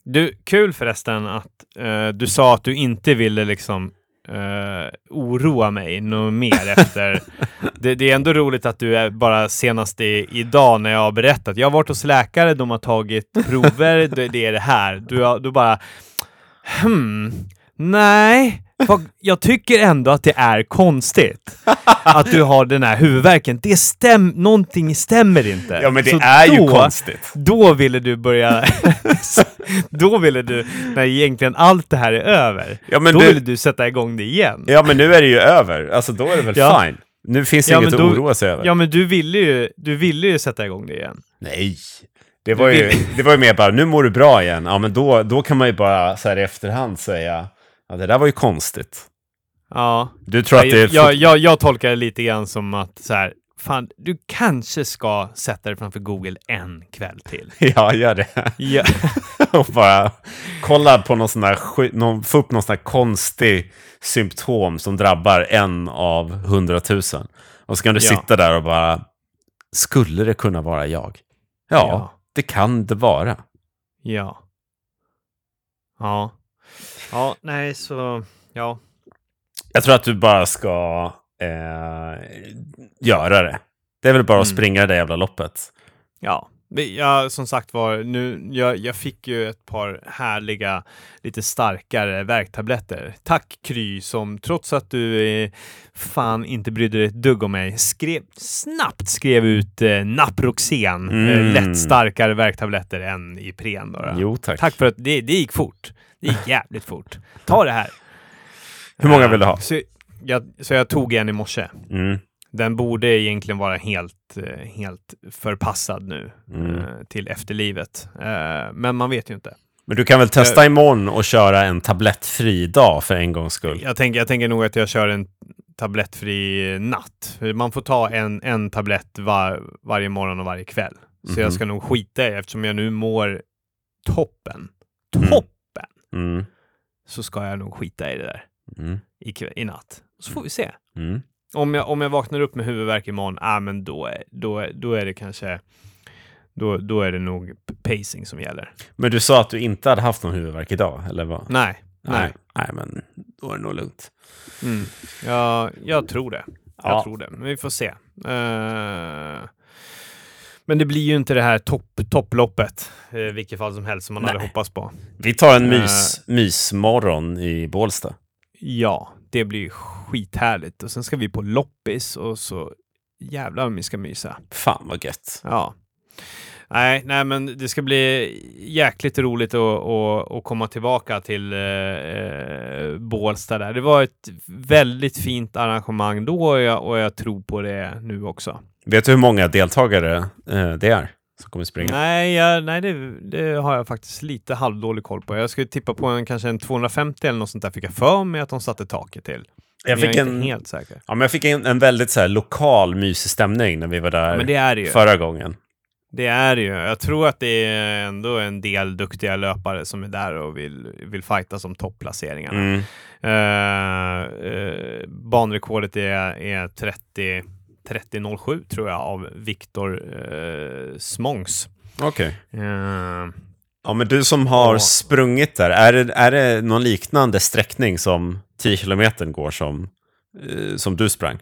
Speaker 1: Du, kul förresten att eh, du sa att du inte ville liksom eh, oroa mig något mer efter. det, det är ändå roligt att du är bara senast i, idag när jag har berättat. Jag har varit hos läkare, de har tagit prover, det, det är det här. Du, har- du bara, hmm, nej. Vad- Jag tycker ändå att det är konstigt att du har den här huvudvärken. Det stäm, någonting stämmer inte.
Speaker 2: Ja, men det
Speaker 1: Så
Speaker 2: är ju
Speaker 1: då-
Speaker 2: konstigt.
Speaker 1: då ville du börja... då ville du, när egentligen allt det här är över,
Speaker 2: Ja, men
Speaker 1: då
Speaker 2: du-
Speaker 1: ville du sätta igång det igen.
Speaker 2: Ja, men nu är det ju över. Alltså, då är det väl
Speaker 1: Ja.
Speaker 2: fine. Nu finns det
Speaker 1: Ja,
Speaker 2: inget
Speaker 1: men då-
Speaker 2: att oroa sig över.
Speaker 1: Ja, men du ville ju, du ville ju sätta igång det igen.
Speaker 2: Nej. Det var, ju, det var ju mer bara, nu mår du bra igen. Ja, men då, då kan man ju bara så här i efterhand säga, ja, det där var ju konstigt.
Speaker 1: Ja.
Speaker 2: Du tror att det är...
Speaker 1: jag, jag, jag, jag tolkar det lite grann som att så här, fan, du kanske ska sätta dig framför Google en kväll till.
Speaker 2: Ja, gör det.
Speaker 1: Ja,
Speaker 2: Och bara kolla på någon sån där, sky- någon, få upp någon sån här konstig symptom som drabbar en av hundratusen. Och så kan du
Speaker 1: Ja.
Speaker 2: sitta där och bara, skulle det kunna vara jag? Ja,
Speaker 1: Ja.
Speaker 2: det kan det vara.
Speaker 1: ja. Ja. Ja, nej, så... Ja.
Speaker 2: Jag tror att du bara ska eh, göra det. Det är väl bara att
Speaker 1: Mm.
Speaker 2: springa det där jävla loppet.
Speaker 1: Ja, vi- jag, som sagt var, nu, jag, jag fick ju ett par härliga, lite starkare värktabletter. Tack Kry, som trots att du eh, fan inte brydde dig ett dugg om mig, skrev, snabbt skrev ut eh, Naproxen,
Speaker 2: Mm.
Speaker 1: eh, lätt starkare värktabletter än Ipren. Då, då.
Speaker 2: Jo, tack.
Speaker 1: Tack för att det, det gick fort. Det gick jävligt fort. Ta det här. Eh,
Speaker 2: Hur många vill du ha?
Speaker 1: Så jag, så jag tog en i morse.
Speaker 2: Mm.
Speaker 1: Den borde egentligen vara helt, eh, helt förpassad nu
Speaker 2: Mm.
Speaker 1: eh, till efterlivet. Eh, Men man vet ju inte.
Speaker 2: Men du kan väl
Speaker 1: Eh.
Speaker 2: testa imorgon och köra en tablettfri dag för en gångs skull?
Speaker 1: Jag tänker, jag tänker nog att jag kör en tablettfri natt. För Man får ta en, en tablett var, varje morgon och varje kväll. Så
Speaker 2: Mhm.
Speaker 1: jag ska nog skita i, eftersom jag nu mår toppen.
Speaker 2: Mm.
Speaker 1: Toppen!
Speaker 2: Mm.
Speaker 1: Så ska jag nog skita i det där.
Speaker 2: Mm.
Speaker 1: i, kv- i natt. Så får vi se.
Speaker 2: Mm.
Speaker 1: Om jag, om jag vaknar upp med huvudvärk imorgon, ah, men då, är- då, är- då är det kanske... Då, då är det nog p- pacing som gäller.
Speaker 2: Men du sa att du inte hade haft någon huvudvärk idag, eller vad?
Speaker 1: Nej, Mm, nej.
Speaker 2: Nej, men då är det nog lugnt.
Speaker 1: Mm. Ja, jag tror det. Jag
Speaker 2: Ja.
Speaker 1: tror det. Men vi får se. Eh, men det blir ju inte det här topp, topploppet, eh, i vilket fall som helst, som man
Speaker 2: Nej.
Speaker 1: hade hoppats på.
Speaker 2: Vi tar en
Speaker 1: Eh.
Speaker 2: mys, mysmorgon i Bålsta.
Speaker 1: Ja, det blir skithärligt. Och sen ska vi på loppis och så jävlar om vi ska mysa.
Speaker 2: Fan vad gött.
Speaker 1: Ja. Nej, nej, men det ska bli jäkligt roligt att, att, att komma tillbaka till eh, eh, Bålsta där. Det var ett väldigt fint arrangemang då och jag, och jag tror på det nu också.
Speaker 2: Vet du hur många deltagare eh, det är som kommer springa?
Speaker 1: Nej, jag, nej det, det har jag faktiskt lite halvdålig koll på. Jag skulle tippa på en, kanske en 250 eller något sånt där fick jag för mig att de satte taket till. Men
Speaker 2: jag, fick
Speaker 1: är
Speaker 2: en,
Speaker 1: inte
Speaker 2: ja,
Speaker 1: helt säker.
Speaker 2: men jag fick en, en väldigt så här, lokal mysig stämning när vi var där
Speaker 1: Men det är det ju.
Speaker 2: förra gången.
Speaker 1: Det är det ju. Jag tror att det är ändå en del duktiga löpare som är där och vill, vill fighta som topplaceringarna.
Speaker 2: Mm.
Speaker 1: Eh, eh, banrekordet är, är 30 30.07 tror jag av Viktor eh, Smångs.
Speaker 2: Okej.
Speaker 1: Eh,
Speaker 2: Ja, men du som har
Speaker 1: Ja.
Speaker 2: sprungit där, är det, är det någon liknande sträckning som 10 kilometern går som, eh, som du sprang?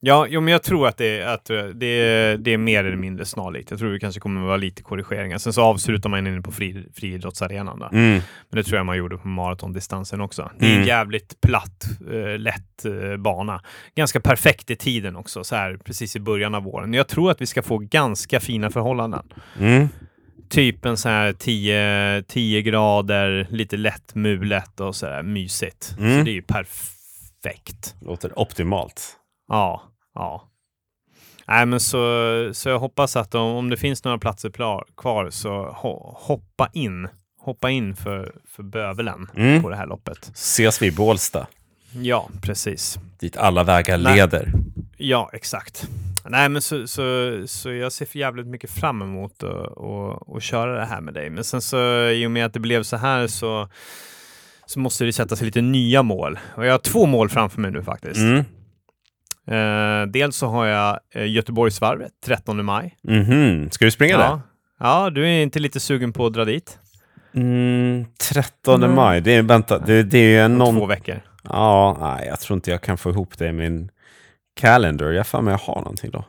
Speaker 1: ja, jo, men jag tror att, det, att det, är- det är mer eller mindre snarlikt. Jag tror det kanske kommer att vara lite korrigeringar. Sen så avslutar man inne på fri, friidrottsarenan. Där.
Speaker 2: Mm.
Speaker 1: Men det tror jag man gjorde på maratondistansen också. Det är en
Speaker 2: Mm.
Speaker 1: jävligt platt, eh, lätt eh, bana. Ganska perfekt i tiden också, så här precis i början av våren. Jag tror att vi ska få ganska fina förhållanden.
Speaker 2: Mm.
Speaker 1: Typ en så här 10, 10 grader, lite lätt mulet och så där mysigt. Så
Speaker 2: Mm.
Speaker 1: det är ju perfekt.
Speaker 2: Låter optimalt.
Speaker 1: Ja, ja. Nej, men så, så jag hoppas att om, om det finns några platser pla- kvar så ho, hoppa in. Hoppa in för, för bövelen
Speaker 2: Mm.
Speaker 1: på det här loppet.
Speaker 2: Ses vi i Bålsta,
Speaker 1: Ja, precis.
Speaker 2: dit alla vägar
Speaker 1: Nej.
Speaker 2: leder.
Speaker 1: Ja, exakt. Nej, men så, så, så jag ser för jävligt mycket fram emot att och, och köra det här med dig. Men sen så i och med att det blev så här så, så måste det sättas lite nya mål. Och jag har två mål framför mig nu faktiskt.
Speaker 2: Mm.
Speaker 1: Eh, dels så har jag eh, Göteborgsvarvet 13 maj.
Speaker 2: Mhm. Ska du springa där?
Speaker 1: Ja. ja, du är inte lite sugen på att dra dit?
Speaker 2: Mm, 13
Speaker 1: Mm.
Speaker 2: maj, det är, vänta, det, det är
Speaker 1: Om Två
Speaker 2: någon...
Speaker 1: veckor.
Speaker 2: Ja, nej, jag tror inte jag kan få ihop det i min calendar. Jag får med jag har någonting då.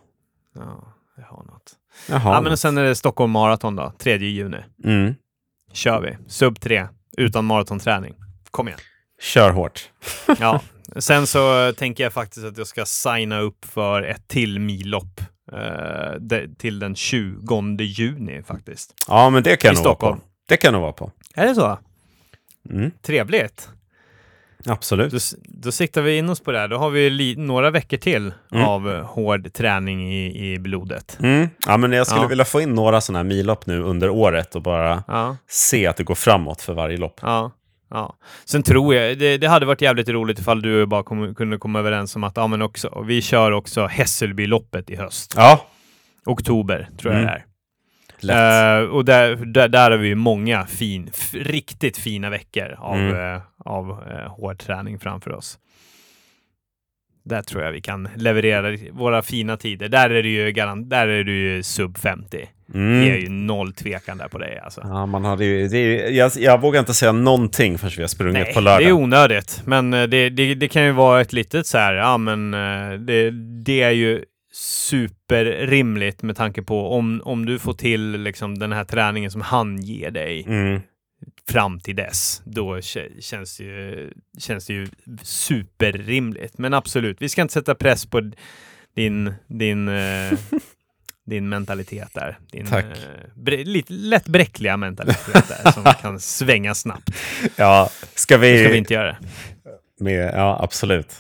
Speaker 1: Ja, jag har något.
Speaker 2: Jag har
Speaker 1: Ja, men
Speaker 2: något.
Speaker 1: och sen är det Stockholm Marathon då, 3 juni.
Speaker 2: mm.
Speaker 1: Kör vi. Sub 3, utan maratonträning. Kom igen.
Speaker 2: Kör hårt.
Speaker 1: Ja. Sen så eh, tänker jag faktiskt att jag ska signa upp för ett till millopp. eh, de- till den 20 juni faktiskt.
Speaker 2: Ja, men det kan
Speaker 1: I
Speaker 2: jag nog vara
Speaker 1: Stockholm.
Speaker 2: på. Det kan jag nog vara på.
Speaker 1: Är det så?
Speaker 2: Mm.
Speaker 1: Trevligt.
Speaker 2: Absolut.
Speaker 1: Då, s- då siktar vi in oss på det här. Då har vi li- några veckor till av eh, hård träning i, i blodet.
Speaker 2: Mm. Ja, men jag skulle
Speaker 1: Ja.
Speaker 2: vilja få in några sådana här millopp nu under året och bara
Speaker 1: Ja.
Speaker 2: se att det går framåt för varje lopp.
Speaker 1: Ja. Ja. Sen tror jag, det, det hade varit jävligt roligt ifall du och jag bara kom, kunde komma överens om att ja, men också, och vi kör också Hässelbyloppet i höst.
Speaker 2: Ja,
Speaker 1: Oktober tror jag
Speaker 2: Mm.
Speaker 1: det är.
Speaker 2: lätt.
Speaker 1: Eh, och där, där, där har vi ju många fin, f- riktigt fina veckor av,
Speaker 2: Mm.
Speaker 1: eh, av eh, hård träning framför oss. Där tror jag vi kan leverera våra fina tider. Där är du ju, garan- där är du ju sub 50. Det är
Speaker 2: Mm.
Speaker 1: ju noll tvekan där på dig alltså.
Speaker 2: Ja, man hade ju, det är, ju- jag, jag vågar inte säga någonting förrän vi har sprungit
Speaker 1: Nej,
Speaker 2: på
Speaker 1: det är
Speaker 2: lördag.
Speaker 1: onödigt. Men eh, det, det, det kan ju vara ett litet så här, ja men eh, det, det är ju superrimligt med tanke på om, om du får till liksom den här träningen som han ger dig
Speaker 2: Mm.
Speaker 1: fram till dess, då kä- känns det, ju, känns det ju superrimligt. Men absolut, vi ska inte sätta press på d- din, din, eh, din mentalitet där. Din,
Speaker 2: Tack.
Speaker 1: eh, bre- lite lätt bräckliga mentalitet där som kan svänga snabbt.
Speaker 2: Ja, ska vi...
Speaker 1: Det ska vi inte göra.
Speaker 2: Med, ja, absolut.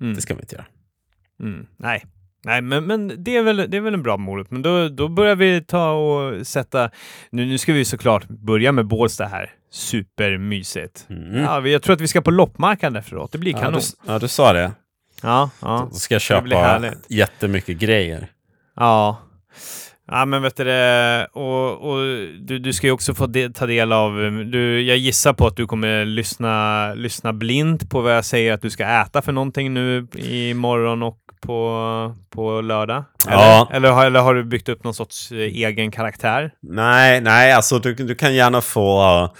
Speaker 1: Mm.
Speaker 2: Det ska vi inte göra.
Speaker 1: Mm, nej. Nej, men, men det, är väl, det är väl en bra morot. Men då, då börjar vi ta och sätta... Nu, nu ska vi ju såklart börja med Bålsta här. Supermysigt.
Speaker 2: Mm.
Speaker 1: Ja, vi- jag tror att vi ska på loppmarknaden efteråt. Det blir
Speaker 2: Ja, du,
Speaker 1: kanon.
Speaker 2: ja, du sa det.
Speaker 1: Ja, ja.
Speaker 2: Då ska jag
Speaker 1: Det blir
Speaker 2: köpa
Speaker 1: härligt.
Speaker 2: jättemycket grejer.
Speaker 1: ja. Ja, men vet du det, och, och du, du ska ju också få de, ta del av... Du, jag gissar på att du kommer lyssna, lyssna blint på vad jag säger att du ska äta för någonting nu i morgon och på, på lördag? Eller,
Speaker 2: Ja.
Speaker 1: eller, har, eller har du byggt upp någon sorts eh, egen karaktär?
Speaker 2: Nej, nej, alltså du, du kan gärna få eh,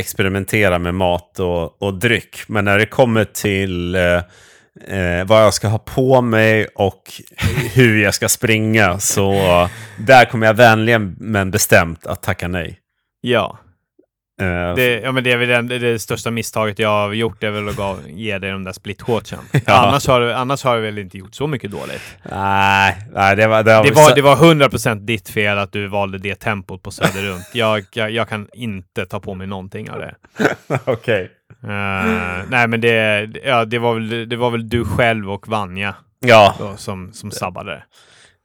Speaker 2: experimentera med mat och, och dryck. Men när det kommer till eh, eh, vad jag ska ha på mig och hur jag ska springa så eh, där kommer jag vänligen men bestämt att tacka nej.
Speaker 1: Ja.
Speaker 2: Eh,
Speaker 1: Det, ja, men det är väl det, det, är det största misstaget jag har gjort, det är väl att gav, ge dig de där split
Speaker 2: Ja.
Speaker 1: annars, har, du- annars har jag väl inte gjort så mycket dåligt.
Speaker 2: nej, nej, det var... Det var,
Speaker 1: Det var, det var 100% ditt fel att du valde det tempot på Söderrunt. Jag, jag, jag kan inte ta på mig någonting av det.
Speaker 2: Okej.
Speaker 1: Eh, nej, men det, ja, det, var väl, det var väl du själv och Vanja
Speaker 2: Ja,
Speaker 1: då, som, som sabbade det.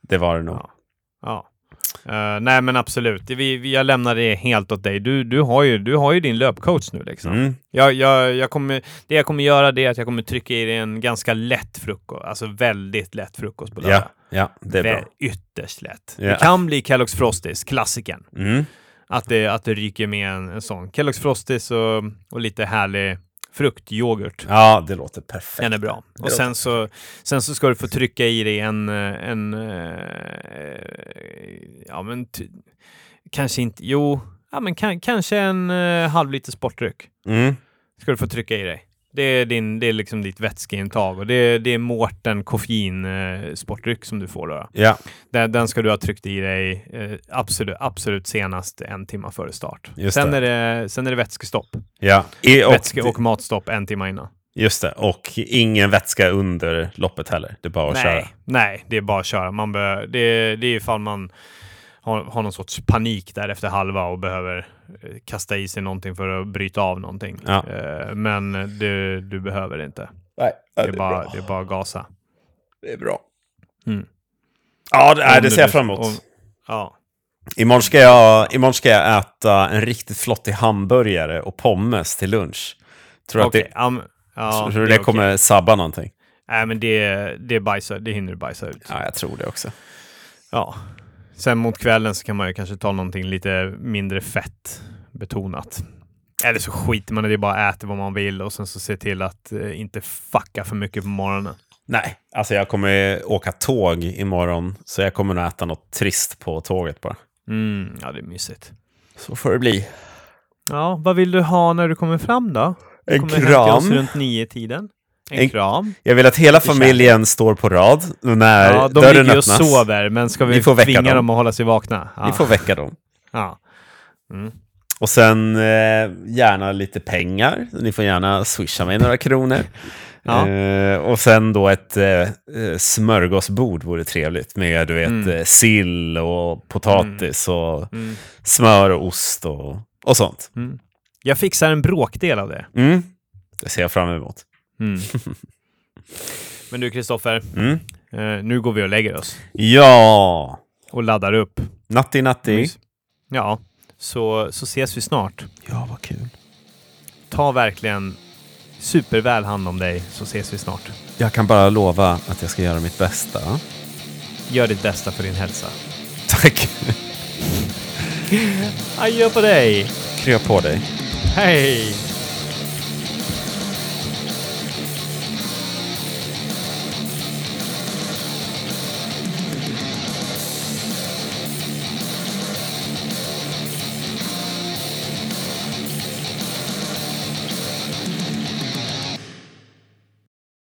Speaker 2: det var det nog.
Speaker 1: Ja. Eh, nej, men absolut. Vi, vi, jag lämnar det helt åt dig. Du, du, har, ju, du har ju din löpcoach nu. Liksom.
Speaker 2: Mm.
Speaker 1: Jag, jag, jag kommer, det jag kommer göra det är att jag kommer trycka i dig en ganska lätt frukost. Alltså väldigt lätt frukost på lördag.
Speaker 2: Ja, ja, det är
Speaker 1: Vä-
Speaker 2: bra.
Speaker 1: Ytterst lätt.
Speaker 2: Ja.
Speaker 1: Det kan bli Kellogg's Frosties, klassikern.
Speaker 2: Mm.
Speaker 1: Att det, att det ryker med en, en sån. Kellogg's Frosties och, och lite härlig fruktyoghurt.
Speaker 2: Ja, det låter perfekt.
Speaker 1: Den är bra. Och
Speaker 2: låter
Speaker 1: sen så, sen så ska du få trycka i dig en, eh, en eh, ja men ty, kanske inte, jo, ja men kan, kanske en eh, halv liter sportdryck
Speaker 2: Mm.
Speaker 1: ska du få trycka i dig. Det är, din, det är liksom ditt vätskeintag och det, det är Mårten koffein eh, sportdryck som du får då.
Speaker 2: Ja,
Speaker 1: Den, den ska du ha tryckt i dig eh, absolut, absolut senast en timme före start.
Speaker 2: Just
Speaker 1: Sen
Speaker 2: det.
Speaker 1: är det, sen är det vätskestopp.
Speaker 2: ja. I, och,
Speaker 1: Vätske och matstopp en timme innan.
Speaker 2: Just det, och ingen vätska under loppet heller. Det är bara att köra.
Speaker 1: Nej, nej, det är bara att köra. Man bör, det, det är ifall man har, har någon sorts panik där efter halva och behöver eh, kasta i sig någonting för att bryta av någonting.
Speaker 2: Ja.
Speaker 1: Eh, Men du, du behöver det inte.
Speaker 2: Nej,
Speaker 1: Det är, bara, det är bara att gasa.
Speaker 2: det är bra.
Speaker 1: Mm.
Speaker 2: Ja, det, nej,
Speaker 1: Om
Speaker 2: det
Speaker 1: du
Speaker 2: ser jag
Speaker 1: nu-
Speaker 2: fram emot.
Speaker 1: om- Ja.
Speaker 2: Imorgon, ska jag, imorgon ska jag äta en riktigt flottig hamburgare och pommes till lunch. Tror du
Speaker 1: Okej.
Speaker 2: att det,
Speaker 1: ja, men- ja,
Speaker 2: tror du
Speaker 1: det är
Speaker 2: det kommer
Speaker 1: okej.
Speaker 2: sabba någonting?
Speaker 1: Nej, men det, det, bajsar, det hinner du bajsa ut.
Speaker 2: Ja, jag tror det också.
Speaker 1: Ja. Sen mot kvällen så kan man ju kanske ta någonting lite mindre fett betonat. Eller så skiter man i det, bara äter vad man vill och sen så se till att eh, inte fucka för mycket på morgonen.
Speaker 2: Nej, alltså jag kommer åka tåg imorgon, så jag kommer nog äta något trist på tåget bara.
Speaker 1: Mm, ja, det är mysigt.
Speaker 2: Så får det bli.
Speaker 1: Ja, vad vill du ha när du kommer fram då? Du
Speaker 2: En
Speaker 1: kommer hem till oss
Speaker 2: kram.
Speaker 1: runt nio tiden. En,
Speaker 2: En-
Speaker 1: kram.
Speaker 2: Jag vill att hela
Speaker 1: Lite
Speaker 2: familjen står på rad när
Speaker 1: Ja, de
Speaker 2: dörren
Speaker 1: ligger ju och
Speaker 2: öppnas.
Speaker 1: sover, men ska vi,
Speaker 2: Vi får väcka
Speaker 1: tvinga
Speaker 2: dem.
Speaker 1: dem att hålla sig vakna? Ja.
Speaker 2: Ni får väcka dem.
Speaker 1: ja.
Speaker 2: Och sen eh, gärna lite pengar. Ni får gärna swisha mig några kronor.
Speaker 1: Ja.
Speaker 2: Eh, och sen då ett eh, eh, smörgåsbord vore trevligt med du vet, eh, sill och potatis och
Speaker 1: Mm.
Speaker 2: smör och ost och, och sånt.
Speaker 1: Jag fixar en bråkdel av det.
Speaker 2: Mm. Det ser jag fram emot.
Speaker 1: Mm. men du, Kristoffer,
Speaker 2: Mm.
Speaker 1: eh, nu går vi och lägger oss.
Speaker 2: Ja,
Speaker 1: och laddar upp.
Speaker 2: natti natti.
Speaker 1: Mys. Ja, så, så ses vi snart.
Speaker 2: Ja, vad kul.
Speaker 1: Ta verkligen superväl hand om dig så ses vi snart.
Speaker 2: Jag kan bara lova att jag ska göra mitt bästa.
Speaker 1: Gör ditt bästa för din hälsa.
Speaker 2: Tack.
Speaker 1: Adjö på dig!
Speaker 2: Krya på dig.
Speaker 1: Hej!